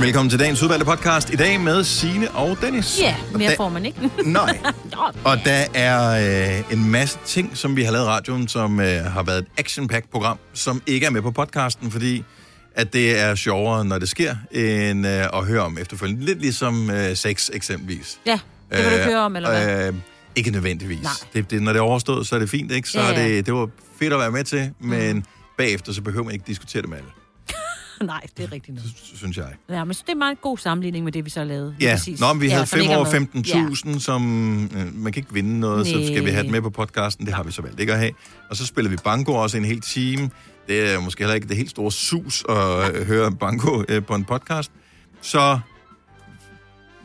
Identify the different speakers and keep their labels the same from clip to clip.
Speaker 1: velkommen til dagens udvalgte podcast. I dag med Sine og Dennis.
Speaker 2: Ja,
Speaker 1: Og
Speaker 2: mere
Speaker 1: da-
Speaker 2: får man ikke.
Speaker 1: Nej.
Speaker 2: Nå,
Speaker 1: Og der er øh, en masse ting, som vi har lavet i radioen, som øh, har været et action program, som ikke er med på podcasten, fordi at det er sjovere, når det sker, end øh, at høre om efterfølgende. Lidt ligesom øh, sex eksempelvis.
Speaker 2: Ja, det kan du ikke høre om, eller hvad?
Speaker 1: Øh, ikke nødvendigvis.
Speaker 2: Nej.
Speaker 1: Det, det, når det er overstået, så er det fint, ikke? Så
Speaker 2: Ja,
Speaker 1: ja,
Speaker 2: ja.
Speaker 1: ja. Det, det var fedt at være med til, men mm. bagefter, så behøver man ikke diskutere det med alle,
Speaker 2: Nej, det er rigtigt noget.
Speaker 1: sy- synes jeg.
Speaker 2: øh, Ja, men så det er meget en god sammenligning med det, vi så lavede.
Speaker 1: Ja,
Speaker 2: præcis.
Speaker 1: Nå, men vi havde
Speaker 2: for
Speaker 1: 5
Speaker 2: det ikke er
Speaker 1: over
Speaker 2: med.
Speaker 1: 15.000, ja. som øh, man kan ikke vinde noget, så skal vi have det med på podcasten. Det har vi så valgt ikke at have. Og så spiller vi banko også en hel time. Det er måske heller ikke det helt store sus at øh, høre banko øh, på en podcast. Så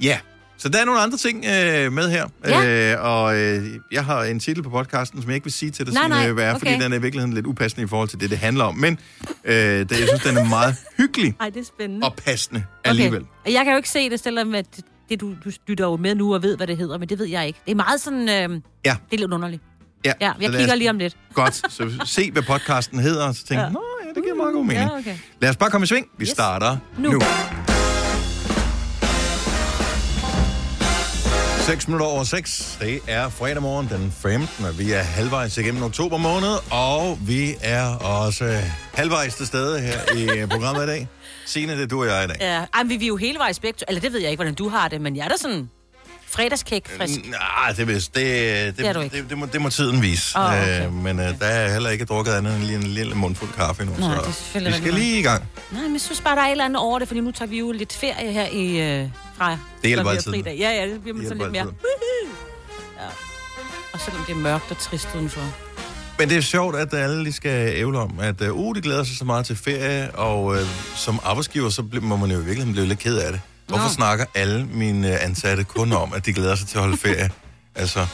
Speaker 1: ja, så der er nogle andre ting øh, med her.
Speaker 2: Ja.
Speaker 1: Øh, og øh, jeg har en titel på podcasten, som jeg ikke vil sige til dig,
Speaker 2: Nej,
Speaker 1: Signe,
Speaker 2: nej,
Speaker 1: hvad er, fordi
Speaker 2: okay.
Speaker 1: den er i virkeligheden lidt upassende i forhold til det, det handler om. Men øh, det, jeg synes, den er meget hyggelig
Speaker 2: Ja. Ej, det er spændende.
Speaker 1: og passende alligevel.
Speaker 2: Okay. Og jeg kan jo ikke se det, selvom at det, du, du lytter jo med nu og ved, hvad det hedder, men det ved jeg ikke. Det er meget sådan... Øh,
Speaker 1: Ja.
Speaker 2: Det er lidt underligt.
Speaker 1: Ja,
Speaker 2: Ja,
Speaker 1: så
Speaker 2: jeg
Speaker 1: lad os-
Speaker 2: kigger lige om lidt.
Speaker 1: Godt, så se, hvad podcasten hedder, og så tænk, ja. nå ja, det giver meget god mening.
Speaker 2: Mm, Ja, okay.
Speaker 1: Lad os bare komme i sving. Vi
Speaker 2: Yes.
Speaker 1: yes. starter
Speaker 2: Nu.
Speaker 1: nu. nu. 6 minutter over 6. Det er fredag morgen den 15. og Vi er halvvejs igennem oktober måned, og vi er også halvvejs til stede her i øh, programmet i dag. Signe, det er du og jeg i dag.
Speaker 2: Ja, ej, men vi, vi er jo hele vejen spektrum. Eller det ved jeg ikke, hvordan du har det, men jeg er da sådan fredagskæk frisk.
Speaker 1: Nej, det, det, det,
Speaker 2: Det er du
Speaker 1: det,
Speaker 2: ikke.
Speaker 1: det, det, må, det må tiden vise.
Speaker 2: Åh, okay.
Speaker 1: øh, men øh, der er heller ikke drukket andet end lige en lille mundfuld kaffe endnu.
Speaker 2: Nå, det er
Speaker 1: så
Speaker 2: selvfølgelig
Speaker 1: vi skal
Speaker 2: rigtig
Speaker 1: lige i gang.
Speaker 2: Nej, men jeg synes bare, der er et eller andet over det, fordi nu tager vi jo lidt ferie her i øh, fra...
Speaker 1: hjælper
Speaker 2: når vi har
Speaker 1: altid.
Speaker 2: fridag. Ja, ja, det bliver man
Speaker 1: Det
Speaker 2: sådan lidt
Speaker 1: hjælper
Speaker 2: mere... Woohoo! Ja. Og selvom det er mørkt og trist udenfor.
Speaker 1: Men det er sjovt, at alle lige skal ævle om, at øh, uh, de glæder sig så meget til ferie, og øh, som arbejdsgiver, så bliver, må man jo i virkeligheden blive lidt ked af det. Hvorfor
Speaker 2: Nå.
Speaker 1: snakker alle mine øh, ansatte kun om, at de glæder sig til at holde ferie? altså,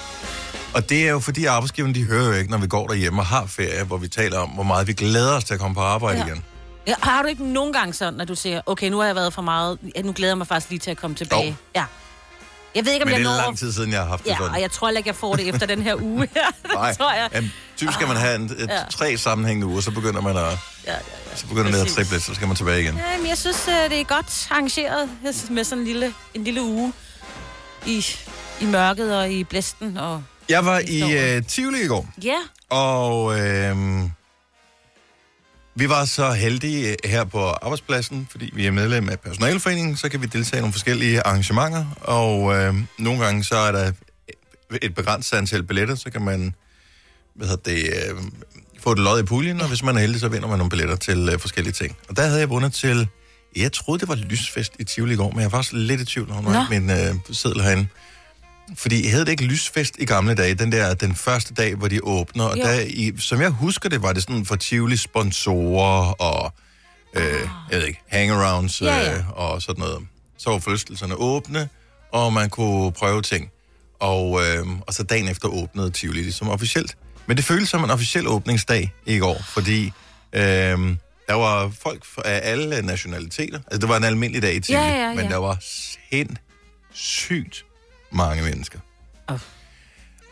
Speaker 1: og det er jo fordi arbejdsgiverne, de hører jo ikke, når vi går derhjemme og har ferie, hvor vi taler om, hvor meget vi glæder os til at komme på arbejde
Speaker 2: Ja.
Speaker 1: ja. igen.
Speaker 2: Ja, har du ikke nogen gange sådan, når du siger, okay, nu har jeg været for meget, ja, nu glæder jeg mig faktisk lige til at komme tilbage.
Speaker 1: Jo.
Speaker 2: Ja. Jeg ved ikke, om
Speaker 1: Men
Speaker 2: jeg
Speaker 1: det
Speaker 2: når...
Speaker 1: er lang tid siden, jeg har haft det
Speaker 2: Ja,
Speaker 1: sådan.
Speaker 2: og jeg tror heller ikke, jeg får det efter den her uge her.
Speaker 1: Nej,
Speaker 2: tror jeg.
Speaker 1: Jamen, typisk skal man have en, et,
Speaker 2: Ja.
Speaker 1: tre sammenhængende uger, så begynder man at,
Speaker 2: Ja, ja, ja.
Speaker 1: så begynder det at
Speaker 2: Præcis.
Speaker 1: triple, så skal man tilbage igen.
Speaker 2: Jamen, jeg synes, øh, det er godt arrangeret jeg synes, med sådan en lille, en lille uge i, i mørket og i blæsten. Og...
Speaker 1: Jeg var
Speaker 2: Næste år.
Speaker 1: i øh, Tivoli i går,
Speaker 2: Ja,
Speaker 1: og øh, vi var så heldige øh, her på arbejdspladsen, fordi vi er medlem af personalforeningen, så kan vi deltage i nogle forskellige arrangementer, og øh, nogle gange så er der et begrænset antal billetter, så kan man hvad hedder det, øh, få et lod i puljen, og hvis man er heldig, så vinder man nogle billetter til øh, forskellige ting. Og der havde jeg vundet til, jeg troede, det var lysfest i Tivoli i går, men jeg var faktisk lidt i tvivl, når hun var
Speaker 2: Nå.
Speaker 1: min øh, seddel herinde. Fordi hed det ikke lysfest i gamle dage, den der, den første dag, hvor de åbner, og
Speaker 2: Jo.
Speaker 1: der, i, som jeg husker det, var det sådan for Tivoli sponsorer og, øh, jeg ved ikke, hangarounds øh,
Speaker 2: Ah. Ja, ja.
Speaker 1: og sådan noget. Så var forlystelserne åbne, og man kunne prøve ting. Og, øh, og så dagen efter åbnede Tivoli ligesom officielt. Men det føltes som en officiel åbningsdag i går, fordi øh, der var folk fra- af alle nationaliteter. Altså, det var en almindelig dag i Tivoli,
Speaker 2: Ja, ja,
Speaker 1: men
Speaker 2: ja.
Speaker 1: der var sindssygt mange mennesker.
Speaker 2: Åh.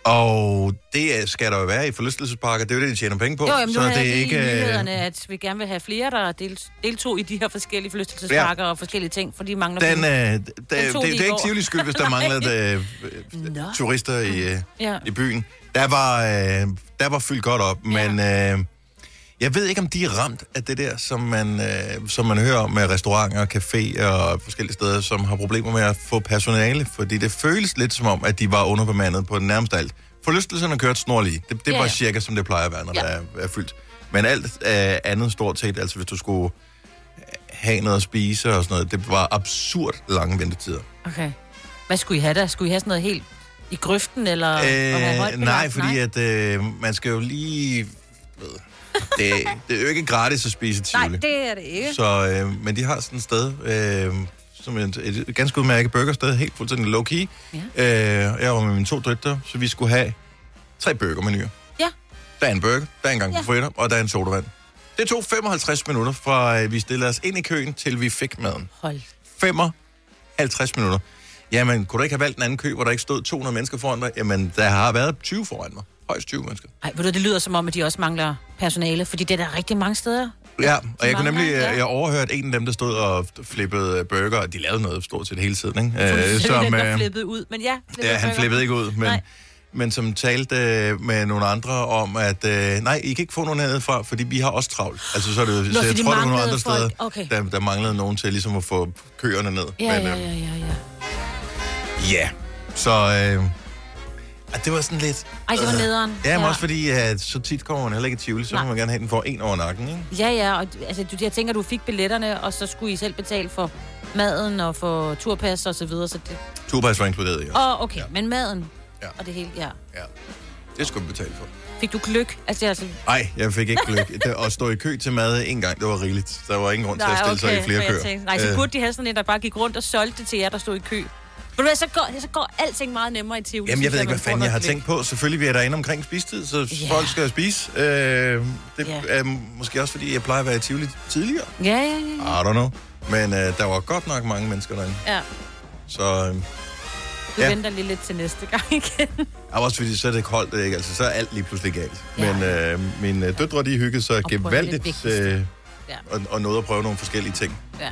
Speaker 1: Og det øh, skal der jo være i forlystelsesparker. Det er jo det, de tjener penge på.
Speaker 2: jo, jamen, nu
Speaker 1: så
Speaker 2: har
Speaker 1: det
Speaker 2: jeg
Speaker 1: er
Speaker 2: ikke...
Speaker 1: ikke...
Speaker 2: i
Speaker 1: øh,
Speaker 2: nyhederne, at vi gerne vil have flere, der del- deltog i de her forskellige forlystelsespakker ja. og forskellige ting, fordi de mangler
Speaker 1: Den, øh, der,
Speaker 2: penge.
Speaker 1: det, det
Speaker 2: tog
Speaker 1: er
Speaker 2: de i
Speaker 1: ikke
Speaker 2: går.
Speaker 1: Tivolis skyld, hvis der manglede øh, øh,
Speaker 2: Nå.
Speaker 1: turister i, øh,
Speaker 2: Ja.
Speaker 1: i byen. Der var, øh, der var fyldt godt op, men øh, jeg ved ikke, om de er ramt af det der, som man, øh, som man hører om med restauranter, caféer og forskellige steder, som har problemer med at få personale, fordi det føles lidt som om, at de var underbemandet på nærmest alt. Forlystelserne kørte snorlige. Det, det
Speaker 2: Ja,
Speaker 1: var
Speaker 2: ja.
Speaker 1: cirka, som det plejer at være, når
Speaker 2: Ja.
Speaker 1: ja. der er, er fyldt. Men alt øh, andet stort set, altså hvis du skulle øh, have noget at spise og sådan noget. Det var absurd lange ventetider.
Speaker 2: Okay. Hvad skulle I have der? Skulle I have sådan noget helt i grøften, eller... og have højt
Speaker 1: Øh, nej,
Speaker 2: belagt?
Speaker 1: fordi at øh, man skal jo lige... Ved, det, det er jo ikke gratis at spise
Speaker 2: Nej,
Speaker 1: Tivoli.
Speaker 2: det er det ikke.
Speaker 1: Så, øh, men de har sådan et sted, øh, som et, et ganske udmærket burgersted, helt fuldstændig low-key. Ja. Øh, jeg var med mine to døtre, så vi skulle have tre burgermenuer.
Speaker 2: Ja.
Speaker 1: Der er en burger, der er en gang
Speaker 2: Ja.
Speaker 1: ja. fritter, og der er en sodavand. Det tog 55 minutter fra øh, vi stillede os ind i køen, til vi fik maden.
Speaker 2: Hold.
Speaker 1: 55 minutter. Jamen, kunne du ikke have valgt en anden kø, hvor der ikke stod 200 mennesker foran dig? Jamen, der har været 20 foran mig. Højst 20 mennesker.
Speaker 2: Ej, ved du, det lyder som om, at de også mangler personale, fordi det er der rigtig mange steder
Speaker 1: Ja, og jeg kunne
Speaker 2: mange
Speaker 1: nemlig,
Speaker 2: gange,
Speaker 1: øh,
Speaker 2: ja.
Speaker 1: jeg overhørte en af dem, der stod og flippede øh, burger, og de lavede noget stort set hele tiden, ikke? Øh,
Speaker 2: Det er den, der
Speaker 1: øh,
Speaker 2: flippede ud. Men ja,
Speaker 1: ja, han flippede ikke ud, men,
Speaker 2: Nej.
Speaker 1: men som talte øh, med nogle andre om, at øh, nej, I kan ikke få nogen hernede fra, fordi vi har også travlt. Altså, så, er det, jo-
Speaker 2: Nå,
Speaker 1: så
Speaker 2: så
Speaker 1: jeg
Speaker 2: de
Speaker 1: tror, der var nogle
Speaker 2: manglede
Speaker 1: andre
Speaker 2: folk.
Speaker 1: steder,
Speaker 2: Okay.
Speaker 1: der, der manglede nogen til ligesom at få køerne ned.
Speaker 2: Ja,
Speaker 1: men,
Speaker 2: ja,
Speaker 1: øh,
Speaker 2: ja, ja, ja.
Speaker 1: ja. Så øh, at det var sådan lidt... Øh,
Speaker 2: Ej, det var nederen.
Speaker 1: Ja, men også fordi, at så tit kommer man heller ikke i tvivl, så
Speaker 2: Nej.
Speaker 1: vil man gerne have den for en over nakken, ikke?
Speaker 2: Ja, ja, og du- altså, du, jeg tænker, du fik billetterne, og så skulle I selv betale for maden og for turpas og så videre. Så det...
Speaker 1: Turbajs var inkluderet i også.
Speaker 2: Åh, oh, okay, ja. men maden
Speaker 1: Ja.
Speaker 2: ja. og det hele, ja.
Speaker 1: Ja. Det skulle man betale for.
Speaker 2: Fik du gløk? Altså, altså
Speaker 1: Nej, jeg fik ikke gløk. Det, at stå i kø til mad en gang, det var rigeligt. Der var ingen grund til at stille sig i flere
Speaker 2: for jeg
Speaker 1: køer.
Speaker 2: tænkte- Nej, så
Speaker 1: Øh,
Speaker 2: burde de have sådan en, der bare gik rundt og solgte det til jer, der stod i kø. Ved du hvad, så går, så går alting meget nemmere i Tivoli.
Speaker 1: Jamen, jeg ved
Speaker 2: så
Speaker 1: ikke,
Speaker 2: man
Speaker 1: hvad
Speaker 2: får
Speaker 1: fanden
Speaker 2: noget
Speaker 1: jeg har
Speaker 2: gløgg.
Speaker 1: tænkt på. Selvfølgelig vi er der inde omkring spistid, så
Speaker 2: Ja.
Speaker 1: folk skal spise. Øh, det
Speaker 2: Ja.
Speaker 1: er måske også, fordi jeg plejer at være i Tivoli tidligere.
Speaker 2: Ja, ja, ja.
Speaker 1: I don't know. Men øh, der var godt nok mange mennesker derinde.
Speaker 2: ja.
Speaker 1: Så øh,
Speaker 2: Du
Speaker 1: Ah. Ja.
Speaker 2: ja. venter lige lidt til næste gang igen.
Speaker 1: og også fordi, så er det koldt, ikke? Altså, så er alt lige pludselig galt.
Speaker 2: Ja.
Speaker 1: Men øh, mine øh, døtre, de hyggede sig
Speaker 2: Og prøv det
Speaker 1: gevaldigt
Speaker 2: vigtigste.
Speaker 1: øh,
Speaker 2: Ja.
Speaker 1: og, og nåede at prøve nogle forskellige ting.
Speaker 2: ja.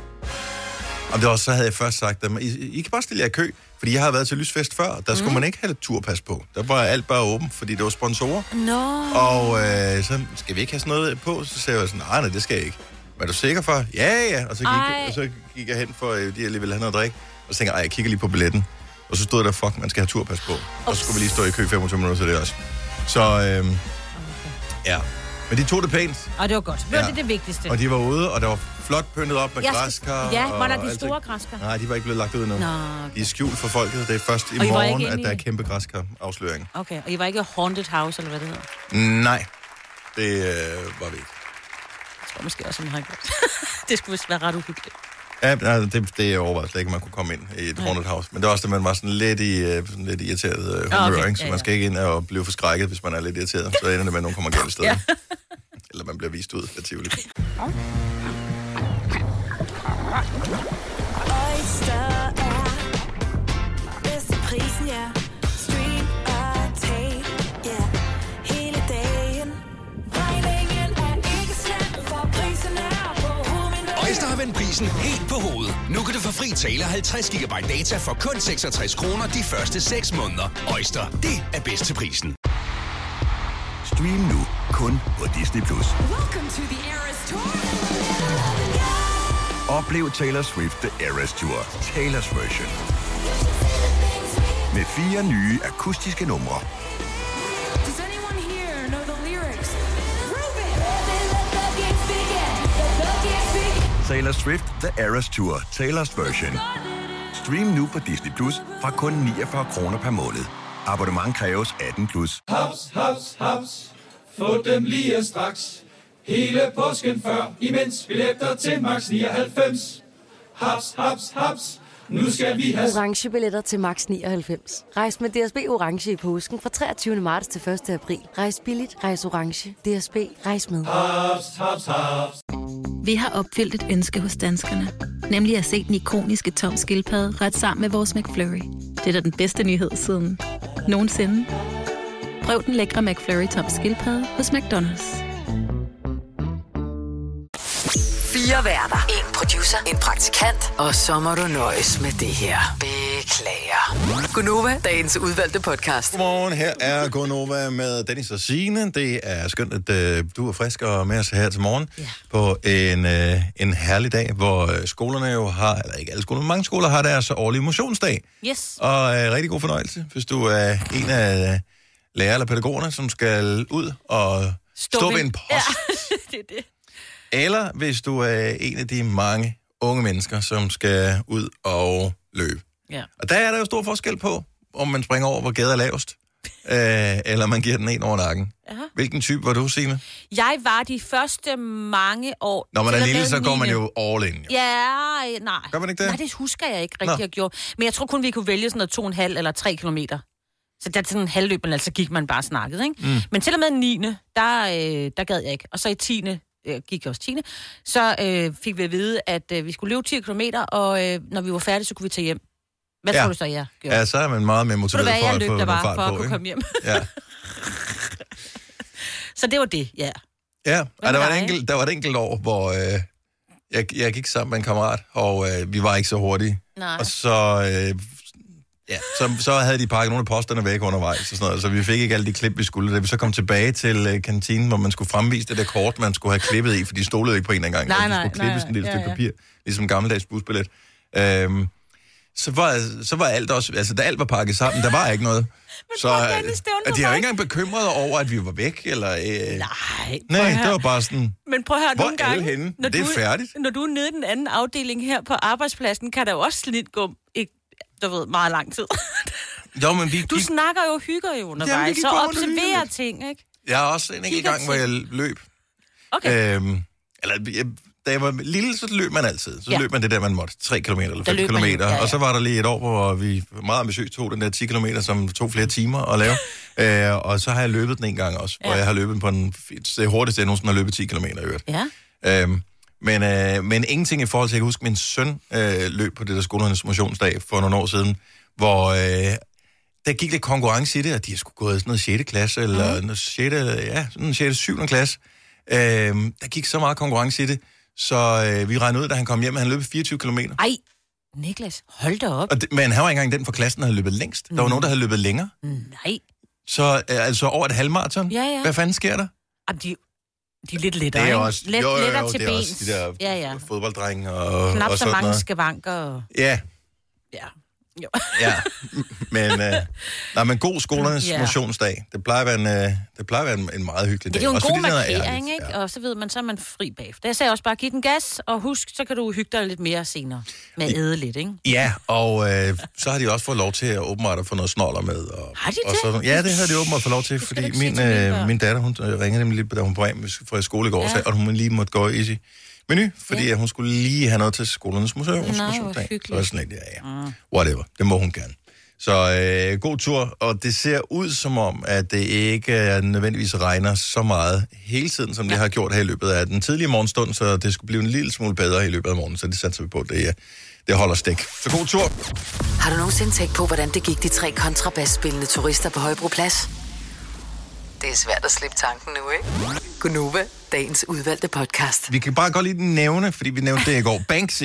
Speaker 1: Og det var også, så havde jeg først sagt dem, I, I kan bare stille jer i kø, fordi jeg har været til lysfest før, og der skulle man ikke have et turpas på. Der var alt bare åbent, fordi det var sponsorer.
Speaker 2: Nå.
Speaker 1: Og øh, så skal vi ikke have sådan noget på? Så sagde jeg sådan, nej, nej, det skal jeg ikke. Men er du sikker for? Ja, ja. Og så gik,
Speaker 2: Ej.
Speaker 1: og så gik jeg hen for, øh, de alligevel ville have noget drik. Og så tænkte jeg, "Ej, jeg kigger lige på billetten. Og så stod der, fuck, man skal have turpas på. Og så skulle vi lige stå i kø 25 minutter til det også. Så øh, ja. Men de tog det pænt,
Speaker 2: Og det var godt. Ved
Speaker 1: Ja.
Speaker 2: ja. det er det vigtigste.
Speaker 1: og de var ude, og der var flot pyntet op med
Speaker 2: Jeg skal-
Speaker 1: græskar.
Speaker 2: Ja, var der
Speaker 1: og
Speaker 2: de
Speaker 1: alt
Speaker 2: store
Speaker 1: det-
Speaker 2: græskar?
Speaker 1: Nej, de var ikke blevet lagt ud endnu.
Speaker 2: Nå, okay.
Speaker 1: De er skjult for folket, og det er først i
Speaker 2: Og I var
Speaker 1: morgen,
Speaker 2: ikke
Speaker 1: at
Speaker 2: inde
Speaker 1: der er
Speaker 2: i-
Speaker 1: kæmpe græskar-afsløring.
Speaker 2: Okay, og I var ikke Haunted House, eller hvad det hedder?
Speaker 1: Nej, det øh, var vi ikke.
Speaker 2: Jeg tror måske også, man har gjort. det skulle vist være ret uhyggeligt.
Speaker 1: Ja, nej, det, det overvejede jeg slet ikke, at man kunne komme ind i et haunted house. Men det var også det, man var sådan lidt, i, øh, sådan lidt irriteret øh, humør,
Speaker 2: Ah,
Speaker 1: okay.
Speaker 2: okay.
Speaker 1: ikke? Så
Speaker 2: Ja,
Speaker 1: man
Speaker 2: ja.
Speaker 1: skal ikke ind og blive forskrækket, hvis man er lidt irriteret. Så ender det med, at nogen kommer galt sted.
Speaker 2: Ja.
Speaker 1: Eller man bliver vist ud af Tivoli.
Speaker 3: Oyster er bedst til prisen, ja. Stream og tag, ja. Hele dagen. Regningen er ikke slem, for prisen er på
Speaker 4: Øjster
Speaker 3: hovedet.
Speaker 4: har vendt prisen helt på hovedet. Nu kan du få fri tale 50 GB data for kun 66 kroner de første 6 måneder. Øjster, det er bedst til prisen.
Speaker 5: Stream nu kun på Disney+. Plus.
Speaker 6: Welcome to the Eras Tour.
Speaker 5: Oplev Taylor Swift The Eras Tour, Taylor's version. Med fire nye akustiske numre.
Speaker 6: Does anyone here know the lyrics?
Speaker 5: Taylor Swift The Eras Tour, Taylor's version. Stream nu på Disney Plus fra kun 49 kroner per måned. Abonnement kræves 18 plus.
Speaker 7: Haps, haps, haps. Få dem lige straks. Hele påsken før, imens billetter til max 99. Haps, haps, haps. Nu skal vi have
Speaker 8: Orange billetter til max 99. Rejs med DSB Orange i påsken fra 23. marts til 1. april. Rejs billigt, rejs orange. DSB, rejs med.
Speaker 7: haps, haps, haps.
Speaker 9: Vi har opfyldt et ønske hos danskerne. Nemlig at se den ikoniske tom skildpadde ret sammen med vores McFlurry. Det er da den bedste nyhed siden nogensinde. Prøv den lækre McFlurry tom skildpadde hos McDonald's.
Speaker 10: Fire værter. En producer. En praktikant. Og så må du nøjes med det her. Beklager. Gunova, dagens udvalgte podcast.
Speaker 1: Godmorgen, her er Gonova med Dennis og Signe. Det er skønt, at øh, du er frisk og med os her til morgen ja. på en, øh, en herlig dag, hvor øh, skolerne jo har, eller ikke alle skoler, men mange skoler har deres årlige motionsdag.
Speaker 2: Yes.
Speaker 1: Og øh, rigtig god fornøjelse, hvis du er en af lærer eller pædagogerne, som skal ud og stå, stå ved en post.
Speaker 2: Ja, det er det.
Speaker 1: Eller hvis du er en af de mange unge mennesker, som skal ud og løbe.
Speaker 2: Ja.
Speaker 1: Og der er der jo stor forskel på, om man springer over, hvor gaden er lavest, øh, eller man giver den en over nakken.
Speaker 2: Aha.
Speaker 1: Hvilken type var du, Signe?
Speaker 2: Jeg var de første mange år...
Speaker 1: Når man
Speaker 2: til
Speaker 1: er
Speaker 2: at
Speaker 1: lille,
Speaker 2: redde
Speaker 1: så går man
Speaker 2: mine.
Speaker 1: jo all in. Jo.
Speaker 2: Ja, øh, nej.
Speaker 1: Gør man ikke det?
Speaker 2: Nej, det husker jeg ikke rigtig,
Speaker 1: Nå.
Speaker 2: jeg gjorde. Men jeg tror kun, vi kunne vælge sådan noget to og en halv eller tre kilometer. Så der til sådan en halvløb, men altså gik man bare snakket, ikke? Mm. Men til og med 9. Der, øh, der gad jeg ikke. Og så i 10. Øh, gik jeg også 10. Så øh, fik vi at vide, at øh, vi skulle løbe 10 km, og øh, når vi var færdige, så kunne vi tage hjem. Hvad
Speaker 1: Ja.
Speaker 2: ja. tror du så, jeg gjorde?
Speaker 1: Ja, så er man meget mere
Speaker 2: Ved du
Speaker 1: motiveret
Speaker 2: hvad,
Speaker 1: for
Speaker 2: jeg
Speaker 1: at
Speaker 2: løb
Speaker 1: få
Speaker 2: der
Speaker 1: noget fart
Speaker 2: bare for at
Speaker 1: på,
Speaker 2: kunne
Speaker 1: ikke?
Speaker 2: komme hjem.
Speaker 1: Ja.
Speaker 2: så det var det, ja.
Speaker 1: Ja, og
Speaker 2: med
Speaker 1: der var, et
Speaker 2: dig?
Speaker 1: enkelt, der var et enkelt år, hvor øh, jeg, jeg gik sammen med en kammerat, og øh, vi var ikke så hurtige.
Speaker 2: Nej.
Speaker 1: Og så, øh, ja, så, så havde de pakket nogle af posterne væk undervejs, og sådan noget, så vi fik ikke alle de klip, vi skulle. Da vi så kom tilbage til øh, kantinen, hvor man skulle fremvise det der kort, man skulle have klippet i, for de stolede ikke på en engang.
Speaker 2: Nej,
Speaker 1: og de
Speaker 2: nej,
Speaker 1: skulle
Speaker 2: nej,
Speaker 1: klippe sådan et lille
Speaker 2: nej,
Speaker 1: stykke
Speaker 2: ja,
Speaker 1: papir,
Speaker 2: ja.
Speaker 1: ligesom en gammeldags busbillet. Øhm, så var, så var alt også, altså da alt var pakket sammen, der var ikke noget. så øh, og de er jo ikke engang bekymrede over, at vi var væk, eller... Øh,
Speaker 2: Nej, prøv
Speaker 1: Nej,
Speaker 2: at høre.
Speaker 1: det var bare sådan...
Speaker 2: Men prøv at høre,
Speaker 1: Hvor
Speaker 2: nogle
Speaker 1: er alle
Speaker 2: gange,
Speaker 1: henne? Det er
Speaker 2: du,
Speaker 1: færdigt.
Speaker 2: Når du er nede i den anden afdeling her på arbejdspladsen, kan der jo også snit gå ikke, du ved, meget lang tid.
Speaker 1: Jo, men vi,
Speaker 2: Du snakker jo og hygger jo undervejs,
Speaker 1: gik
Speaker 2: så
Speaker 1: bare rundt og hyggede
Speaker 2: observerer
Speaker 1: lidt.
Speaker 2: ting, ikke?
Speaker 1: Jeg har også en enkelt
Speaker 2: Kigger
Speaker 1: gang, hvor jeg løb.
Speaker 2: Okay.
Speaker 1: Øhm, eller, jeg, da jeg var lille, så løb man altid. Så
Speaker 2: Ja.
Speaker 1: ja. løb man det der, man måtte. 3 km eller
Speaker 2: Der
Speaker 1: 5
Speaker 2: løb
Speaker 1: km.
Speaker 2: man jo, ja,
Speaker 1: ja,
Speaker 2: ja.
Speaker 1: Og så var der lige et år, hvor vi meget ambitiøst tog den der 10 km, som tog flere timer at lave. øh, og så har jeg løbet den en gang også, ja. hvor jeg har løbet på den det hurtigste, jeg nogensinde har løbet 10 km i øvrigt.
Speaker 2: Ja.
Speaker 1: Øhm, men, øh, men ingenting i forhold til, jeg kan huske, min søn øh, løb på det der skolernes motionsdag for nogle år siden, hvor øh, der gik lidt konkurrence i det, og de har sgu gået i sådan noget 6. klasse, eller
Speaker 2: Mhm.
Speaker 1: mm. 6. ja, sådan 6. 7. klasse. Øh, der gik så meget konkurrence i det, så øh, vi regnede ud, da han kom hjem, at han løb 24 km.
Speaker 2: Ej, Niklas, hold da op.
Speaker 1: Og det, men han var ikke engang den fra klassen, der havde løbet længst. Der var
Speaker 2: Mm.
Speaker 1: nogen, der havde løbet længere.
Speaker 2: Nej.
Speaker 1: Så øh, altså over et halvmarathon.
Speaker 2: Ja, ja.
Speaker 1: Hvad fanden sker der?
Speaker 2: Jamen, de, de er lidt lettere,
Speaker 1: det er
Speaker 2: ikke?
Speaker 1: også,
Speaker 2: Let,
Speaker 1: jo, jo, jo,
Speaker 2: lettere til
Speaker 1: det er
Speaker 2: bens.
Speaker 1: også de der
Speaker 2: ja, ja.
Speaker 1: fodbolddrenge og,
Speaker 2: Knap
Speaker 1: og
Speaker 2: så
Speaker 1: sådan
Speaker 2: mange
Speaker 1: noget.
Speaker 2: skavanker. og-
Speaker 1: Ja,
Speaker 2: Ja. Jo.
Speaker 1: Ja, men, øh, nej, men god skolernes
Speaker 2: Ja.
Speaker 1: yeah. motionsdag. Det plejer at være en, øh, det plejer at være en, en meget hyggelig
Speaker 2: Det
Speaker 1: dag.
Speaker 2: er jo en
Speaker 1: Også
Speaker 2: god
Speaker 1: fordi den er ærlig.
Speaker 2: markering, ikke? Og så ved man, så er man fri bagefter. Jeg sagde også bare, giv den gas, og husk, så kan du hygge dig lidt mere senere. Med at æde lidt, ikke?
Speaker 1: Ja, og øh, så har de også fået lov til at åbenbart at få noget snoller med. Og,
Speaker 2: Har de
Speaker 1: og
Speaker 2: det?
Speaker 1: sådan- ja, det havde de åbenbart fået lov til, fordi min, øh, min datter, hun øh, ringede nemlig lige, da hun var hjem fra skole i går,
Speaker 2: Ja.
Speaker 1: ja. sagde, at hun lige måtte gå i sin menu, fordi ja. hun skulle lige have noget til skolernes museum.
Speaker 2: Nej, hvor
Speaker 1: motionsdag.
Speaker 2: hyggeligt.
Speaker 1: Så var jeg sådan lidt, ja, ja. Whatever, det må hun gerne. Så øh, god tur, og det ser ud som om, at det ikke øh, nødvendigvis regner så meget hele tiden, som det har gjort her i løbet af den tidlige morgenstund, så det skulle blive en lille smule bedre i løbet af morgenen, så det satser vi på, det, øh, det holder stik. Så god tur!
Speaker 10: Har du nogensinde tænkt på, hvordan det gik de tre kontrabasspillende turister på Højbroplads? Det er svært at slippe tanken nu, ikke? Gunova, dagens udvalgte podcast.
Speaker 1: Vi kan bare godt lige nævne, fordi vi nævnte det i går, Banksy,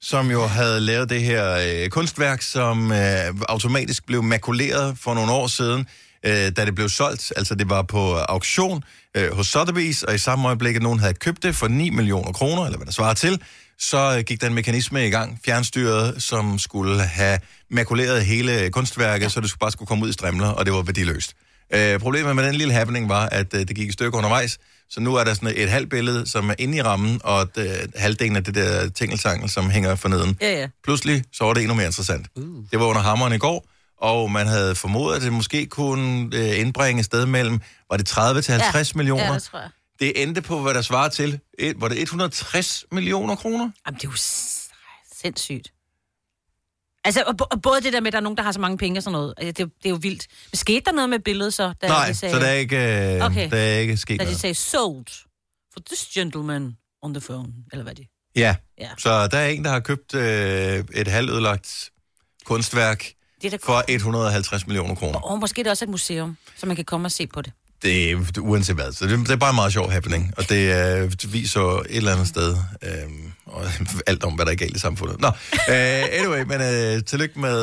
Speaker 1: som jo havde lavet det her øh, kunstværk, som øh, automatisk blev makuleret for nogle år siden, øh, da det blev solgt. Altså det var på auktion øh, hos Sotheby's, og i samme øjeblik, at nogen havde købt det for 9 millioner kroner, eller hvad der svarer til, så øh, gik der en mekanisme i gang, fjernstyret, som skulle have makuleret hele kunstværket, så det skulle bare skulle komme ud i strimler, og det var værdiløst. Øh, problemet med den lille happening var, at øh, det gik i stykker undervejs, så nu er der sådan et halvt billede, som er inde i rammen, og et, øh, halvdelen af det der tingeltangel, som hænger forneden.
Speaker 2: Ja, ja.
Speaker 1: Pludselig så var det endnu mere interessant. Uh. Det var under hammeren i går, og man havde formodet, at det måske kunne øh, indbringe et sted mellem, var det 30 til 50
Speaker 2: ja.
Speaker 1: millioner?
Speaker 2: Ja, det tror jeg.
Speaker 1: det endte på, hvad der svarer til, et, var det 160 millioner kroner?
Speaker 2: Jamen, det er jo s- sindssygt. Altså, og, bo- og både det der med, at der er nogen, der har så mange penge og sådan noget, altså, det, det er jo vildt. Men skete der noget med billedet så? Da
Speaker 1: Nej,
Speaker 2: de
Speaker 1: så der er ikke, øh,
Speaker 2: Okay.
Speaker 1: der er ikke sket
Speaker 2: Da de
Speaker 1: noget.
Speaker 2: sagde, sold for this gentleman on the phone, eller hvad det
Speaker 1: Ja,
Speaker 2: Ja.
Speaker 1: så der er en, der har købt øh, et halvødelagt kunstværk
Speaker 2: Det er da
Speaker 1: for 150 millioner kroner.
Speaker 2: Og måske er det også et museum, så man kan komme og se på det.
Speaker 1: det er det- uanset hvad. Så det, det er bare en meget sjov happening, og det, øh, det viser et eller andet sted øh, og alt om, hvad der er galt i samfundet. Nå, øh, anyway, men øh, tillykke, med,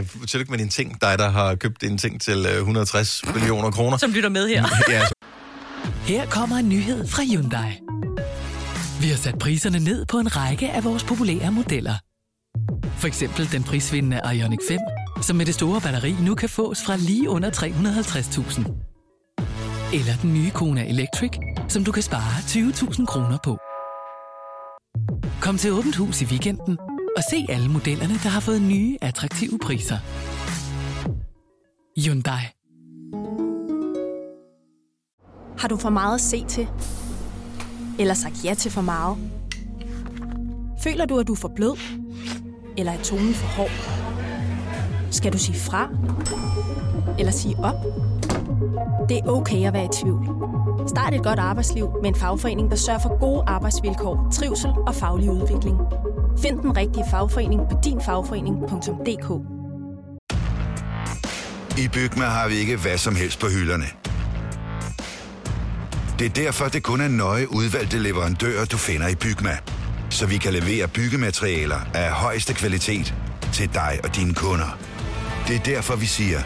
Speaker 1: øh, tillykke med din ting, dig der har købt din ting til øh, 160 millioner kroner.
Speaker 2: Som lytter med her.
Speaker 1: ja,
Speaker 11: Her kommer en nyhed fra Hyundai. Vi har sat priserne ned på en række af vores populære modeller. For eksempel den prisvindende Ioniq 5, som med det store batteri nu kan fås fra lige under 350.000. Eller den nye Kona Electric, som du kan spare 20.000 kroner på. Kom til Åbent Hus i weekenden og se alle modellerne, der har fået nye, attraktive priser. Hyundai.
Speaker 12: Har du for meget at se til? Eller sagt ja til for meget? Føler du, at du er for blød? Eller er tonen for hård? Skal du sige fra? Eller sige op? Det er okay at være i tvivl. Start et godt arbejdsliv med en fagforening, der sørger for gode arbejdsvilkår, trivsel og faglig udvikling. Find den rigtige fagforening på dinfagforening.dk
Speaker 13: I Bygma har vi ikke hvad som helst på hylderne. Det er derfor, det kun er nøje udvalgte leverandører, du finder i Bygma. Så vi kan levere byggematerialer af højeste kvalitet til dig og dine kunder. Det er derfor, vi siger,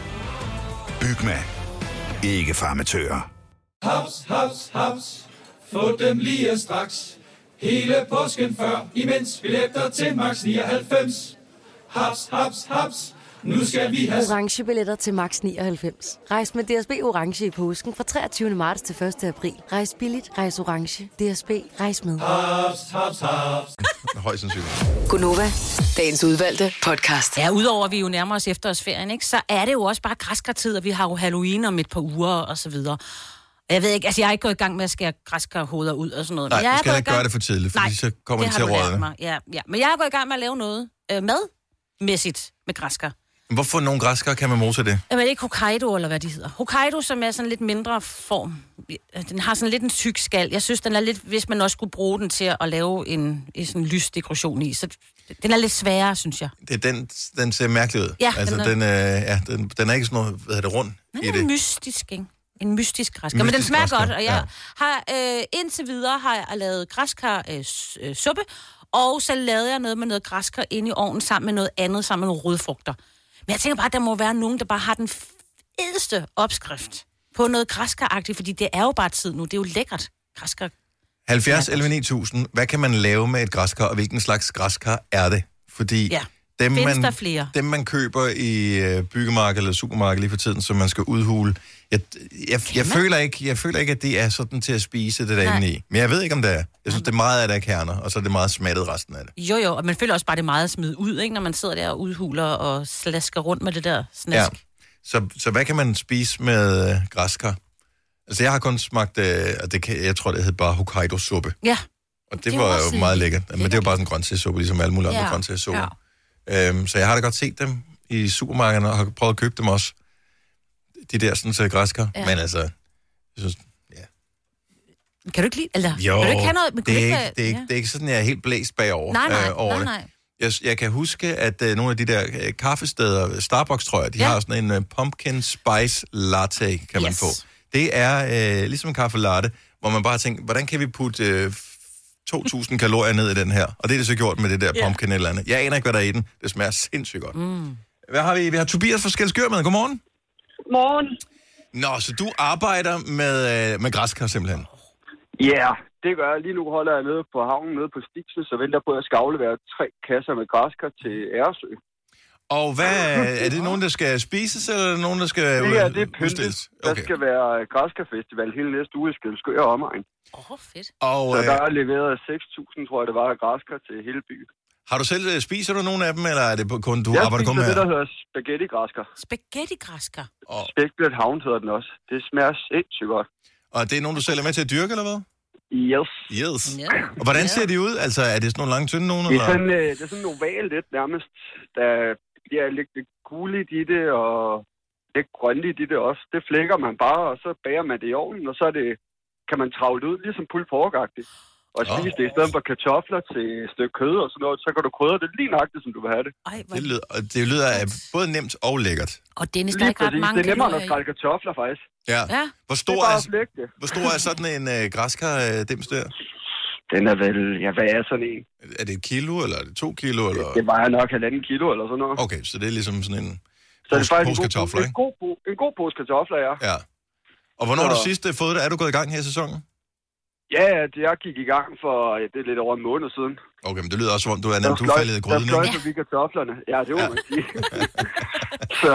Speaker 13: Bygma. Ikke farmatører.
Speaker 7: Haps, haps, haps. Få dem lige straks. Hele påsken før, imens billetter til max 99. Haps, haps, haps. Nu skal vi have...
Speaker 8: orange billetter til max 99. Rejs med DSB orange i påsken fra 23. marts til 1. april. Rejs billigt, rejs orange. DSB rejs med.
Speaker 7: Haps, haps, haps.
Speaker 1: Højst sandsynligt.
Speaker 10: Gunova, dagens udvalgte podcast.
Speaker 2: Ja, udover at vi jo nærmer os efterårsferien, ikke, så er det jo også bare græskartid, og vi har jo Halloween om et par uger og så videre. Jeg ved ikke, altså jeg er ikke gået i gang med at skære græskarhoveder ud og sådan noget.
Speaker 1: Nej,
Speaker 2: men jeg
Speaker 1: du
Speaker 2: er
Speaker 1: skal
Speaker 2: gået
Speaker 1: ikke
Speaker 2: i gang-
Speaker 1: gøre det for tidligt, fordi
Speaker 2: Nej,
Speaker 1: så kommer
Speaker 2: det
Speaker 1: de til
Speaker 2: har
Speaker 1: at
Speaker 2: du lært
Speaker 1: rådne.
Speaker 2: mig. Ja, ja. Men jeg er gået i gang med at lave noget øh, madmæssigt med græskar.
Speaker 1: Men Hvorfor nogle græskar kan man mose det?
Speaker 2: Jamen, er Øh, det ikke Hokkaido, eller hvad de hedder? Hokkaido, som er sådan lidt mindre form. Øh, Den har sådan lidt en tyk skal. Jeg synes, den er lidt, hvis man også skulle bruge den til at lave en, en sådan lysdekoration i, så den er lidt sværere, synes jeg.
Speaker 1: det er den, den ser mærkelig ud.
Speaker 2: Ja,
Speaker 1: altså,
Speaker 2: den
Speaker 1: den,
Speaker 2: er-
Speaker 1: er... Den, øh, ja, den, den er ikke sådan noget, hvad hedder det, rund
Speaker 2: Den
Speaker 1: i
Speaker 2: er
Speaker 1: det.
Speaker 2: Mm. mystisk, ikke? En mystisk græskar. Men den
Speaker 1: Mystisk
Speaker 2: smager
Speaker 1: græskar,
Speaker 2: godt, og jeg
Speaker 1: ja.
Speaker 2: har øh, indtil videre har jeg lavet græskar øh, s- øh, suppe, og så lavede jeg noget med noget græskar inde i ovnen sammen med noget andet, sammen med nogle rødfrugter. Men jeg tænker bare, at der må være nogen, der bare har den fedeste opskrift på noget græskaragtigt, fordi det er jo bare tid nu. Det er jo lækkert. Græskar.
Speaker 1: 70 11 9000, hvad kan man lave med et græskar, og hvilken slags græskar er det? Fordi
Speaker 2: Ja.
Speaker 1: dem,
Speaker 2: Findes
Speaker 1: man,
Speaker 2: der flere?
Speaker 1: dem, man køber i øh, byggemarkedet eller supermarkedet lige for tiden, som man skal udhule, jeg, jeg, jeg, føler ikke, jeg føler ikke, at det er sådan til at spise det
Speaker 2: Nej.
Speaker 1: der inde i. Men jeg ved ikke, om det er. Jeg synes, det er meget af det er kerner, og så er det meget smattet resten af det.
Speaker 2: Jo, jo, og man føler også bare, det er meget at smide ud, ikke? når man sidder der og udhuler og slasker rundt med det der snask.
Speaker 1: Ja. Så, så hvad kan man spise med øh, græskar? Altså, jeg har kun smagt, øh, og det kan, jeg tror, det hed bare Hokkaido-suppe.
Speaker 2: Ja.
Speaker 1: Og
Speaker 2: Det
Speaker 1: det,
Speaker 2: er
Speaker 1: det
Speaker 2: jo
Speaker 1: var
Speaker 2: også
Speaker 1: jo meget lækkert. Men det er jo bare sådan en grøntsagssuppe, ligesom alle mulige andre
Speaker 2: Ja,
Speaker 1: ja. grøntsagssuppe. Ja. Øhm, så jeg har da godt set dem i supermarkederne, og har prøvet at købe dem også. De der sådan så græskar.
Speaker 2: Ja.
Speaker 1: Ja. Men altså, jeg synes,
Speaker 2: Kan du ikke lide, eller
Speaker 1: jo,
Speaker 2: kan du ikke have noget? men
Speaker 1: det,
Speaker 2: kunne
Speaker 1: er
Speaker 2: du
Speaker 1: ikke,
Speaker 2: have-
Speaker 1: det, er ikke,
Speaker 2: ja.
Speaker 1: det er ikke sådan, jeg er helt blæst bagover
Speaker 2: Nej, nej,
Speaker 1: øh, over
Speaker 2: nej,
Speaker 1: det.
Speaker 2: nej.
Speaker 1: Jeg, jeg kan huske, at øh, nogle af de der øh, kaffesteder, Starbucks tror jeg, de
Speaker 2: Ja.
Speaker 1: ja. har sådan en øh, pumpkin spice latte, kan yes. man
Speaker 2: Yes.
Speaker 1: få. Det er øh, ligesom en kaffe latte, hvor man bare tænker, hvordan kan vi putte øh, 2.000 kalorier ned i den her? Og det er det så gjort med det der
Speaker 2: Ja.
Speaker 1: pumpkin eller andet. Jeg aner ikke, hvad der er i den. Det smager sindssygt godt.
Speaker 2: Mm.
Speaker 1: Hvad har vi? Vi har Tobias fra Skelskør med. Godmorgen.
Speaker 14: Morgen.
Speaker 1: Nå, så du arbejder med, øh, med græskar simpelthen.
Speaker 14: Ja, yeah, det gør jeg. Lige nu holder jeg nede på havnen, nede på Stigsen, så venter på, at jeg skal aflevere tre kasser med græskar til Æresø.
Speaker 1: Og hvad, er det nogen, der skal spises, eller er det nogen, der skal
Speaker 14: Det her, det er pyntet.
Speaker 1: udstilles?
Speaker 14: Der skal være græskarfestival hele næste uge i Skelskø og omegn.
Speaker 2: Åh, oh, fedt.
Speaker 1: Og,
Speaker 14: så
Speaker 1: øh,
Speaker 14: der er leveret 6.000, tror jeg, det var, af græskar til hele byen.
Speaker 1: Har du selv, øh, spiser du nogen af dem, eller er det på- kun, du
Speaker 14: jeg
Speaker 1: arbejder kun med
Speaker 14: spiser
Speaker 1: her?
Speaker 14: det, der hedder spaghetti-græskar.
Speaker 2: Spaghetti-græsker.
Speaker 14: Spækblæt havn hedder den også. Det smager sindssygt godt.
Speaker 1: Og det er nogen, du selv er med til at dyrke, eller hvad?
Speaker 14: Yes.
Speaker 1: Yes. Og hvordan ser de ud? Altså, er det sådan nogle lange, tynde nogen?
Speaker 14: Det er
Speaker 1: Eller?
Speaker 14: sådan, øh, det er sådan oval lidt nærmest. Der bliver lidt, lidt gulligt i det, og lidt grønligt i det også. Det flækker man bare, og så bager man det i ovnen, og så er det, kan man travle det ud, ligesom pulled pork Og spise det i stedet for kartofler til et stykke kød og sådan noget, så kan du krydre det lige nøjagtigt, som du vil have det.
Speaker 2: Ej,
Speaker 1: det, lyder, og det lyder øh, både nemt og lækkert.
Speaker 2: Og Dennis, der er
Speaker 14: lige
Speaker 2: ikke ret
Speaker 14: præcis.
Speaker 2: mange
Speaker 14: Det er nemmere,
Speaker 2: kalorier
Speaker 14: end at skrælle kartofler, faktisk.
Speaker 1: Ja.
Speaker 2: Ja.
Speaker 1: Hvor
Speaker 14: Det
Speaker 1: stor
Speaker 14: er bare
Speaker 1: er,
Speaker 14: at flække det.
Speaker 1: hvor stor er sådan en øh, græskar øh, dims der?
Speaker 14: Den er vel, ja, hvad er sådan en?
Speaker 1: Er det et kilo, eller er det to kilo? Eller?
Speaker 14: Det vejer nok halvanden kilo eller sådan noget.
Speaker 1: Okay, så det er ligesom sådan en
Speaker 14: Så det er faktisk en
Speaker 1: pose
Speaker 14: god,
Speaker 1: kartofler,
Speaker 14: en, god, po- en god pose kartofler, ja.
Speaker 1: Ja. Og hvornår har du
Speaker 14: Så-
Speaker 1: sidst øh, fået det? Er du gået i gang her i sæsonen?
Speaker 14: Ja, ja, det- jeg gik i gang for ja, det er lidt over en måned siden.
Speaker 1: Okay, men det lyder også, som om du er nemt, du er
Speaker 14: fløj-
Speaker 1: faldet i gryden,
Speaker 14: Der fløj
Speaker 1: ikke?
Speaker 14: forbi kartoflerne. Ja, det må man sige. så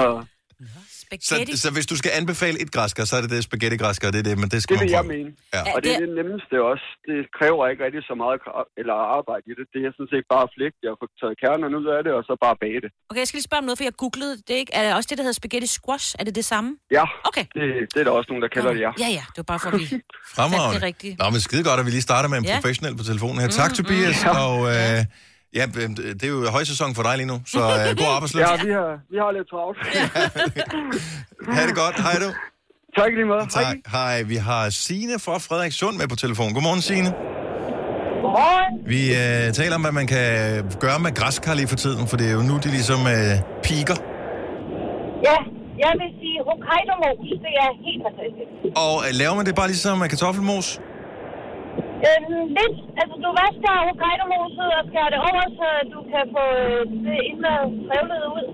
Speaker 1: Så, så hvis du skal anbefale et græskar, så er det det spaghetti-græskar, det er det, men det skal
Speaker 14: det vil
Speaker 1: man
Speaker 14: jeg
Speaker 1: prøve.
Speaker 14: mene.
Speaker 1: Ja.
Speaker 14: Og det er det nemmeste også. Det kræver ikke rigtig så meget kra- eller arbejde i det. Det er sådan set bare at flække det og få taget kernerne ud af det, og så bare bage det.
Speaker 2: Okay, jeg skal lige spørge om noget, for jeg googlede det, ikke? Er det også det, der hedder spaghetti squash? Er det det samme?
Speaker 14: Ja,
Speaker 2: okay.
Speaker 14: det, det er der også nogen, der kalder det, ja.
Speaker 2: Ja, ja, det var bare for, at vi satte
Speaker 1: Fremragende.
Speaker 2: det rigtigt.
Speaker 1: Nå, men skide godt, at vi lige starter med en
Speaker 2: Ja.
Speaker 1: ja. professionel på telefonen her. Tak,
Speaker 2: Mm,
Speaker 1: Tobias.
Speaker 2: mm.
Speaker 1: Og øh, ja, øh, det er jo højsæson for dig lige nu, så øh, god arbejdsløs.
Speaker 14: Ja, vi har, vi har lidt travlt.
Speaker 1: Ha' det godt. Hej du.
Speaker 14: Tak lige meget.
Speaker 1: Tak. Hej. Vi har Sine fra Frederikssund med på telefonen. Godmorgen, Sine.
Speaker 15: Godmorgen.
Speaker 1: Vi øh, taler om, hvad man kan gøre med græskar lige for tiden, for det er jo nu, de ligesom øh, piker.
Speaker 15: Ja, Jeg vil sige, Hokkaido-mos, det er helt fantastisk.
Speaker 1: Og øh, laver man det bare ligesom med kartoffelmos?
Speaker 15: Øhm, lidt, altså du vasker Hokkaido-moset og skærer det over, så du kan få øh, det indre revlede ud.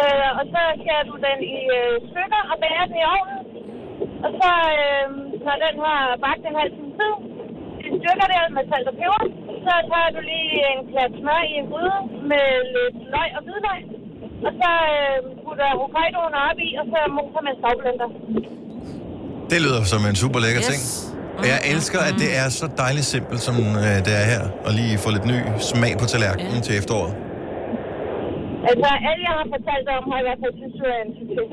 Speaker 15: Øh, og så skærer du den i øh, stykker og bager den i ovnen. Og så, øh, når den har bagt en halv time tid, i stykker der med salt og peber. Så tager du lige en klat smør i en gryde med lidt løg og hvidløg. Og så øh, putter Hokkaidoen op i, og så moser med en stavblender.
Speaker 1: Det lyder som en super lækker yes. ting. Og jeg elsker, at det er så dejligt simpelt, som øh, det er her. Og lige få lidt ny smag på tallerkenen til efteråret.
Speaker 15: Altså, alle jeg har fortalt om, har i hvert fald synes, du er en succes.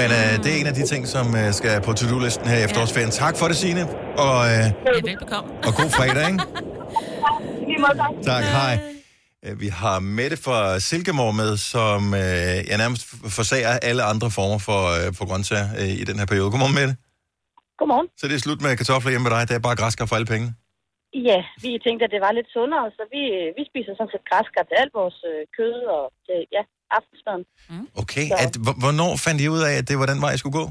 Speaker 1: Men øh, det er en af de ting, som øh, skal på to-do-listen her i efterårsferien. Tak for det, Signe. Og, øh,
Speaker 2: Ja, velbekomme.
Speaker 1: og god fredag, ikke?
Speaker 15: Lige måde, tak.
Speaker 1: Tak, hej. Øh, Vi har Mette fra Silkeborg med, som øh, jeg nærmest forsager alle andre former for, øh, for grøntsager øh, i den her periode. Godmorgen, Mette.
Speaker 16: Godmorgen.
Speaker 1: Så det er slut med kartofler hjemme ved dig. Det er bare græskar for alle penge.
Speaker 16: Ja, vi tænkte, at det var lidt sundere, så vi, øh, vi spiser sådan set græskar til alt vores øh, kød og til, ja, aftensmaden. Mm.
Speaker 1: Okay, at, hv- hvornår fandt I ud af, at det var den vej, jeg skulle gå?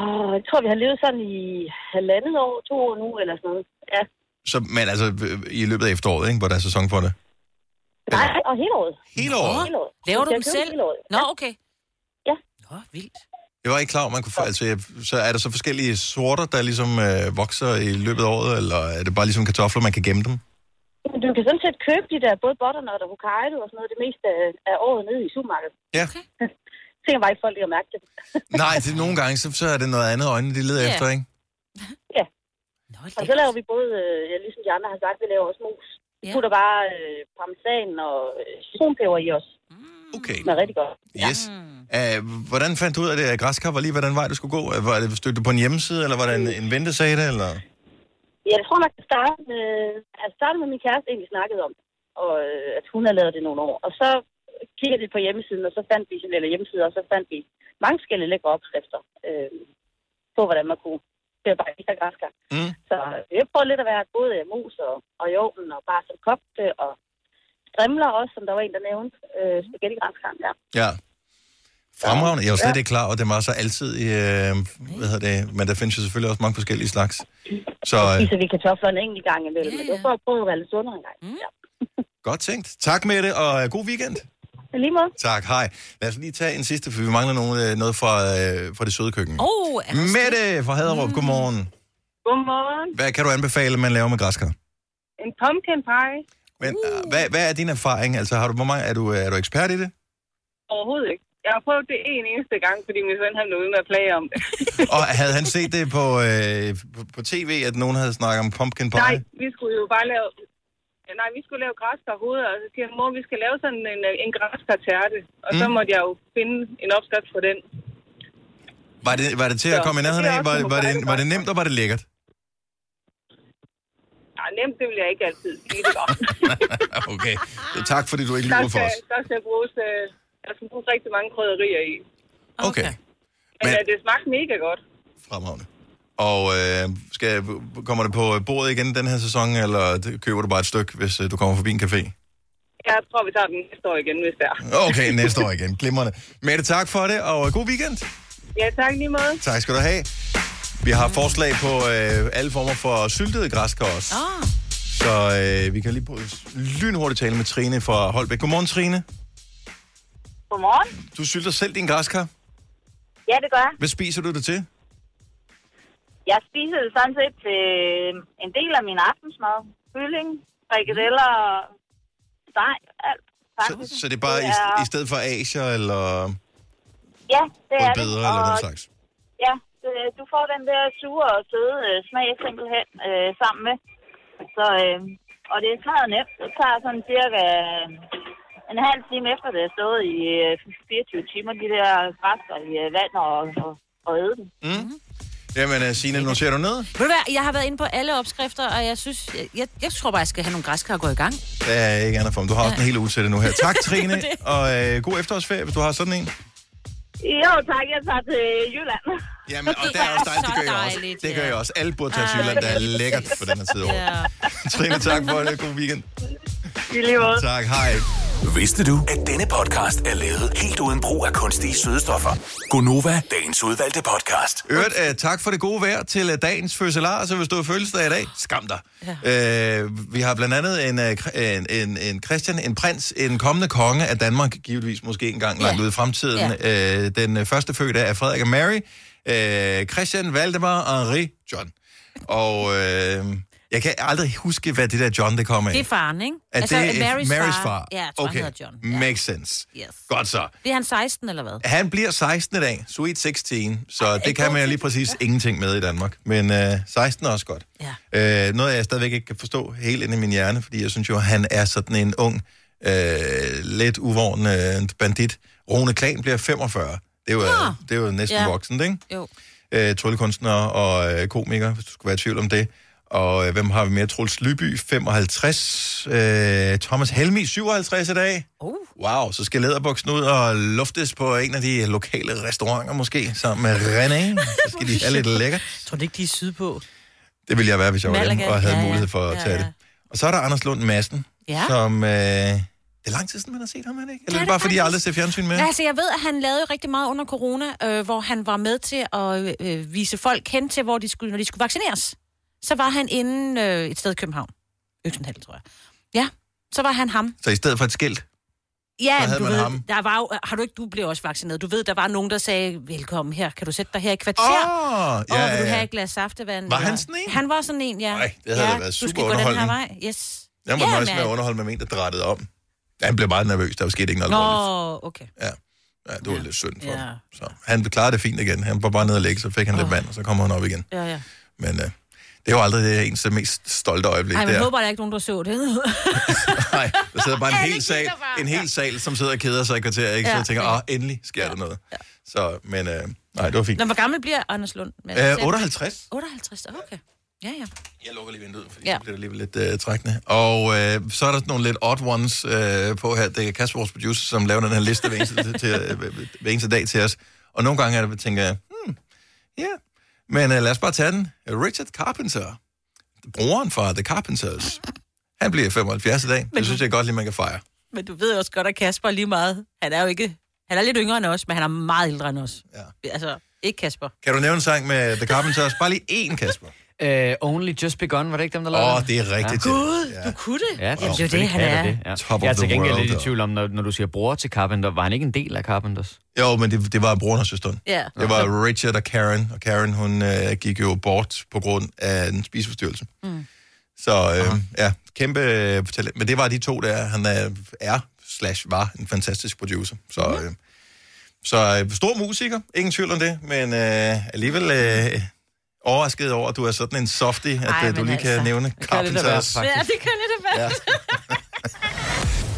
Speaker 16: Og jeg tror, vi har levet sådan i halvandet år, to år nu eller sådan noget. Ja.
Speaker 1: Så, men altså, øh, i løbet af efteråret, ikke, hvor der er sæson for det.
Speaker 16: Nej, og hele året.
Speaker 1: Hele året?
Speaker 16: Hele året.
Speaker 2: Laver
Speaker 16: Så
Speaker 2: du
Speaker 16: jeg
Speaker 2: dem
Speaker 16: køber
Speaker 2: selv?
Speaker 16: hele året.
Speaker 2: Nå, okay.
Speaker 16: Ja.
Speaker 2: Nå, vildt.
Speaker 1: Jeg var ikke klar, over, man kunne få, altså, jeg, så er der så forskellige sorter, der ligesom øh, vokser i løbet af året, eller er det bare ligesom kartofler, man kan gemme dem?
Speaker 16: Men Du kan sådan set købe de der både butternut og Hokkaido og sådan noget det meste af, af året nede i supermarkedet.
Speaker 1: Ja.
Speaker 16: Okay. Tænker bare ikke folk lige at mærke det.
Speaker 1: Nej, det er nogle gange, så, så er det noget andet, øjnene de leder
Speaker 16: Ja.
Speaker 1: efter, ikke?
Speaker 16: Ja. og så laver vi både, øh, ja, ligesom de andre har sagt, vi laver også mos. Vi putter bare øh, parmesan og øh, citronpeber i os.
Speaker 1: Okay.
Speaker 16: Det er rigtig godt.
Speaker 1: Yes. Uh, hvordan fandt du ud af det, at græskar var lige, hvordan vej du skulle gå? Øh, Var det, stødte du på en hjemmeside, eller var der en, en ven, der sagde det, eller?
Speaker 16: Ja, jeg tror nok, at starte med, at starte med min kæreste egentlig snakkede om, og øh, at hun havde lavet det nogle år. Og så kiggede vi på hjemmesiden, og så fandt vi, eller hjemmesider, og så fandt vi mange forskellige lækre opskrifter øh, på, hvordan man kunne bearbejde de her græskar.
Speaker 1: Mm.
Speaker 16: Så jeg prøvede lidt at være både øh, mus og, og i ovnen, og bare som kogte, og strimler også, som der var en, der nævnte, øh, spaghetti græskar, ja.
Speaker 1: Ja. Fremragende. Jeg var slet ikke klar, og det var så altid i, øh, hvad hedder det, men der findes jo selvfølgelig også mange forskellige slags. Så øh,
Speaker 16: Spiser vi kartofler en enkelt gang imellem, men det var for at prøve at være lidt sundere en gang. Ja.
Speaker 1: godt tænkt. Tak med det, og øh, god weekend.
Speaker 16: Så Lige måde.
Speaker 1: Tak, hej. Lad os lige tage en sidste, for vi mangler nogen, øh, noget fra, øh, fra det søde køkken.
Speaker 2: Åh, oh,
Speaker 1: Mette fra Haderup, mm. godmorgen.
Speaker 17: Godmorgen.
Speaker 1: Hvad kan du anbefale, man laver med græskar?
Speaker 17: En pumpkin pie?
Speaker 1: Men uh. hvad, hvad er din erfaring? Altså, har du, hvor mange, er, du, er du ekspert i det?
Speaker 17: Overhovedet ikke. Jeg har prøvet det en eneste gang, fordi min søn han nåede med at plage om det.
Speaker 1: Og havde han set det på, øh, på, på tv, at nogen havde snakket om pumpkin pie?
Speaker 17: Nej, vi skulle jo bare lave... Ja, Nej, vi skulle lave græskarhoveder, og så siger han, mor, vi skal lave sådan en, øh, en græskarterte. Og mm. så
Speaker 1: Mm.
Speaker 17: måtte jeg jo finde en opskrift på den.
Speaker 1: Var det, var det til at
Speaker 17: Så,
Speaker 1: komme i nærheden
Speaker 17: det er
Speaker 1: af?
Speaker 17: også
Speaker 1: Var,
Speaker 17: en
Speaker 1: var, det,
Speaker 17: hokkaido
Speaker 1: var det nemt, og var det lækkert?
Speaker 17: Nej, nemt, det vil jeg ikke altid sige. Det var.
Speaker 1: Okay. Så tak, fordi du ikke
Speaker 17: der,
Speaker 1: lyver for
Speaker 17: skal,
Speaker 1: os.
Speaker 17: der skal bruges... Øh, der skal bruges rigtig mange krydderier i.
Speaker 1: Okay.
Speaker 17: Men, Men... det smagte mega godt.
Speaker 1: Fremragende. Og øh, skal, kommer det på bordet igen den her sæson, eller det- køber du bare et stykke, hvis øh, du kommer forbi en café?
Speaker 17: Jeg tror, vi tager den næste år igen, hvis det er.
Speaker 1: Okay, næste år igen. Glimrende. Mette, tak for det, og øh, god weekend.
Speaker 17: Ja, tak lige måde.
Speaker 1: Tak skal du have. Vi har forslag på øh, alle former for syltede græskar også.
Speaker 2: Ah.
Speaker 1: Så øh, vi kan lige prøve lynhurtigt tale med Trine fra Holbæk. Godmorgen, Trine.
Speaker 15: Godmorgen.
Speaker 1: Du sylter selv din græskar.
Speaker 15: Ja, det gør jeg.
Speaker 1: Hvad spiser du det til?
Speaker 15: Jeg spiser det sådan set til Øhm, en del af min aftensmad. Kylling, frikadeller,
Speaker 2: Mhm.
Speaker 15: steg, alt.
Speaker 1: Så, så det er bare i, st- i stedet for asier eller
Speaker 15: Ja, det er
Speaker 1: rødbeder
Speaker 15: det.
Speaker 1: eller
Speaker 15: Og
Speaker 1: den slags?
Speaker 15: ja, øh, du får den der sure og søde øh, smag simpelthen øh, sammen med. Så, øh, og det er smadret nemt. Det tager sådan cirka øh, en halv time efter, det er stået i øh, 24 timer, de der græsker i øh, vand og, og, og æde dem.
Speaker 1: Mm. Jamen, øh, Signe, noterer du ned?
Speaker 2: Ved du hvad, jeg har været inde på alle opskrifter, og jeg synes, jeg, jeg, jeg tror bare, jeg skal have nogle græskar og gå i gang.
Speaker 1: Der er ikke andet for mig. Du har også en hel uge til det nu her. Tak, Trine, og øh, god efterårsferie, hvis du har sådan en.
Speaker 15: Jo, tak. Jeg tager til Jylland.
Speaker 1: Jamen, og det er også dejligt. Det gør jeg også. Det gør jeg også. Alle burde tage til Jylland. Det er lækkert på den her tid af året. Trine, tak for det. God weekend.
Speaker 15: I lige måde.
Speaker 1: Tak, hej.
Speaker 18: Vidste du, at denne podcast er lavet helt uden brug af kunstige sødestoffer?
Speaker 1: Gunova.
Speaker 18: Dagens udvalgte podcast.
Speaker 1: Øvrigt, uh, tak for det gode vejr til øh, dagens fødselar, så hvis du har fødselsdag i dag, skam dig. Ja. Uh, vi har blandt andet en, uh, en, en, en Christian, en prins, en kommende konge af Danmark, givetvis måske engang ja. langt ude i fremtiden. Ja. Uh, den uh, første fødte er Frederik og Mary, uh, Christian, Valdemar, Henri, John. Og uh, jeg kan aldrig huske, hvad det der John, det kommer af.
Speaker 2: Det er faren, ikke? Altså,
Speaker 1: Er det et Marys far?
Speaker 2: Ja, jeg tror, okay.
Speaker 1: okay.
Speaker 2: han hedder John.
Speaker 1: Makes sense.
Speaker 2: Yes.
Speaker 1: Godt så.
Speaker 2: Bliver han 16 eller hvad?
Speaker 1: Han bliver 16 i dag, Sweet 16, så det kan man jo lige præcis ingenting med i Danmark. Men øh, 16 er også godt. Ja. Øh, noget, jeg stadigvæk ikke kan forstå helt inde i min hjerne, fordi jeg synes jo, han er sådan en ung, øh, lidt uvåren øh, bandit. Rune Klan bliver 45. Det er jo, øh, det er jo næsten
Speaker 2: Ja.
Speaker 1: ja. voksent, ikke?
Speaker 2: Jo.
Speaker 1: øh, tryllekunstner og øh, komiker, hvis du skulle være i tvivl om det. Og øh, hvem har vi mere? Truls Lyby, 55. Øh, Thomas Helmi, 57 i dag.
Speaker 2: Uh.
Speaker 1: Wow, så skal læderbuksen ud og luftes på en af de lokale restauranter måske, sammen med René. Så skal de have lidt lækker.
Speaker 2: Tror du ikke, de er sydpå?
Speaker 1: Det ville jeg være, hvis jeg var hjemme
Speaker 2: Malaga.
Speaker 1: og havde
Speaker 2: Ja, ja.
Speaker 1: mulighed for at
Speaker 2: Ja,
Speaker 1: tage det. Og så er der Anders Lund Madsen,
Speaker 2: Ja.
Speaker 1: som... Øh, det er lang tid siden, man har set ham, er det ikke? Eller er det bare, fordi jeg aldrig ser fjernsyn med?
Speaker 2: Ja, altså, jeg ved, at han lavede jo rigtig meget under corona, øh, hvor han var med til at øh, vise folk hen til, hvor de skulle, når de skulle vaccineres. Så var han inde øh, et sted i København. Øksendhal, tror jeg. Ja, så var han ham.
Speaker 1: Så i stedet for et skilt.
Speaker 2: Ja,
Speaker 1: Så havde
Speaker 2: du
Speaker 1: man
Speaker 2: ved,
Speaker 1: ham.
Speaker 2: der var jo, har du ikke, du blev også vaccineret. Du ved, der var nogen, der sagde, velkommen her, kan du sætte dig her i kvarter?
Speaker 1: Åh,
Speaker 2: og
Speaker 1: ja,
Speaker 2: vil du
Speaker 1: ja, ja.
Speaker 2: have et glas saftevand?
Speaker 1: Var han
Speaker 2: Eller-
Speaker 1: sådan
Speaker 2: Han var sådan en, ja. Nej,
Speaker 1: det havde
Speaker 2: ja,
Speaker 1: da været
Speaker 2: du skal
Speaker 1: super
Speaker 2: gå den her
Speaker 1: underholdende.
Speaker 2: vej. Yes.
Speaker 1: Jeg må ja, nøjes
Speaker 2: mand.
Speaker 1: med at underholde med en, der drættede om. Ja, Han blev meget nervøs, der var sket ikke noget alvorligt.
Speaker 2: Nå, okay.
Speaker 1: Ja, det var lidt synd for
Speaker 2: Ja.
Speaker 1: ja. Så han klarede det fint igen. Han var bare nede og lægge, så fik han oh. lidt vand, og så kommer han op igen.
Speaker 2: Ja, ja.
Speaker 1: Men øh, det var aldrig det ens mest stolte øjeblik
Speaker 2: Ej,
Speaker 1: Ej,
Speaker 2: men jeg
Speaker 1: der.
Speaker 2: håber, der er ikke nogen, der så det.
Speaker 1: Nej, der sidder bare en hel sal, en hel sal, som sidder og keder sig i kvarter, ikke? Så
Speaker 2: Ja.
Speaker 1: jeg tænker, åh, endelig sker der noget. Så, men øh, nej, det var fint.
Speaker 2: Nå, hvor gammel bliver Anders Lund?
Speaker 1: Øh, 58.
Speaker 2: 58, okay. Ja, ja.
Speaker 1: Jeg lukker lige vinduet, fordi
Speaker 2: ja.
Speaker 1: Det er alligevel lidt øh, trækkende. Og øh, så er der sådan nogle lidt odd ones øh, på her. Det er Kasper, vores producer, som laver den her liste hver eneste, til, til, hver eneste dag til os. Og nogle gange er det, tænker jeg, hmm, ja. Yeah. Men øh, lad os bare tage den. Richard Carpenter, broren fra The Carpenters, han bliver 75 i dag. Det synes jeg godt lige, man kan fejre.
Speaker 2: Men du ved også godt, at Kasper er lige meget... Han er jo ikke... Han er lidt yngre end os, men han er meget ældre end os. Ja. Altså, ikke Kasper.
Speaker 1: Kan du nævne en sang med The Carpenters? Bare lige én, Kasper.
Speaker 19: Uh, only Just Begun, var det ikke dem, der lavede
Speaker 1: Åh,
Speaker 19: den?
Speaker 1: det er rigtigt.
Speaker 2: Gud, ja. du kunne det.
Speaker 19: Ja,
Speaker 2: Jamen, det er jo det,
Speaker 19: selvfølgelig
Speaker 2: han
Speaker 19: kan
Speaker 2: er.
Speaker 19: jeg Det, ja.
Speaker 1: Top of
Speaker 19: jeg er til
Speaker 1: the
Speaker 19: gengæld
Speaker 1: world,
Speaker 19: lidt i
Speaker 1: og-
Speaker 19: tvivl om, når, når du siger bror til Carpenter, var han ikke en del af Carpenters?
Speaker 1: Jo, men det, det var broren og søsteren.
Speaker 19: Ja.
Speaker 1: Det var Richard og Karen, og Karen hun øh, gik jo bort på grund af en spiseforstyrrelse.
Speaker 2: Mm.
Speaker 1: Så øh, ja, kæmpe øh, talent. Men det var de to der. Han er, er slash var en fantastisk producer. Så, øh, så øh, stor musiker, ingen tvivl om det, men øh, alligevel øh, overrasket over, at du er sådan en softie, at
Speaker 10: Ej,
Speaker 1: Ej, du
Speaker 10: men
Speaker 1: lige altså,
Speaker 10: altså.
Speaker 1: kan nævne Carpenters.
Speaker 2: det kan lidt være.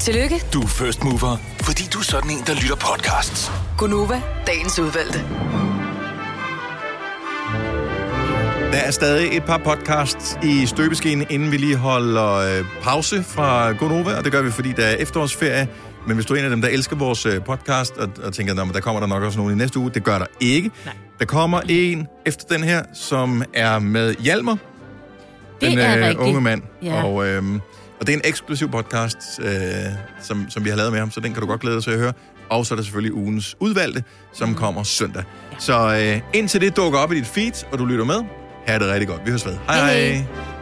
Speaker 10: Tillykke,
Speaker 18: Du er first mover, fordi du er sådan en, der lytter podcasts.
Speaker 10: Gunova, dagens udvalgte.
Speaker 1: Der er stadig et par podcasts i støbeskeen, inden vi lige holder øh, pause fra Gonova, og det gør vi, fordi der er efterårsferie. Men hvis du er en af dem, der elsker vores øh, podcast, og, og tænker, at der kommer der nok også nogen i næste uge, det gør der ikke. Nej. Der kommer en efter den her, som er med Hjalmar,
Speaker 2: Det
Speaker 1: den øh,
Speaker 2: er rigtigt.
Speaker 1: unge mand.
Speaker 2: Ja.
Speaker 1: Og, øh, og det er en eksklusiv podcast, øh, som, som vi har lavet med ham, så den kan du godt glæde dig til at høre. Og så er der selvfølgelig ugens udvalgte, som mm. kommer søndag. Ja. Så øh, indtil det dukker op i dit feed, og du lytter med, have det rigtig godt. Vi høres ved. Hej hej. hej.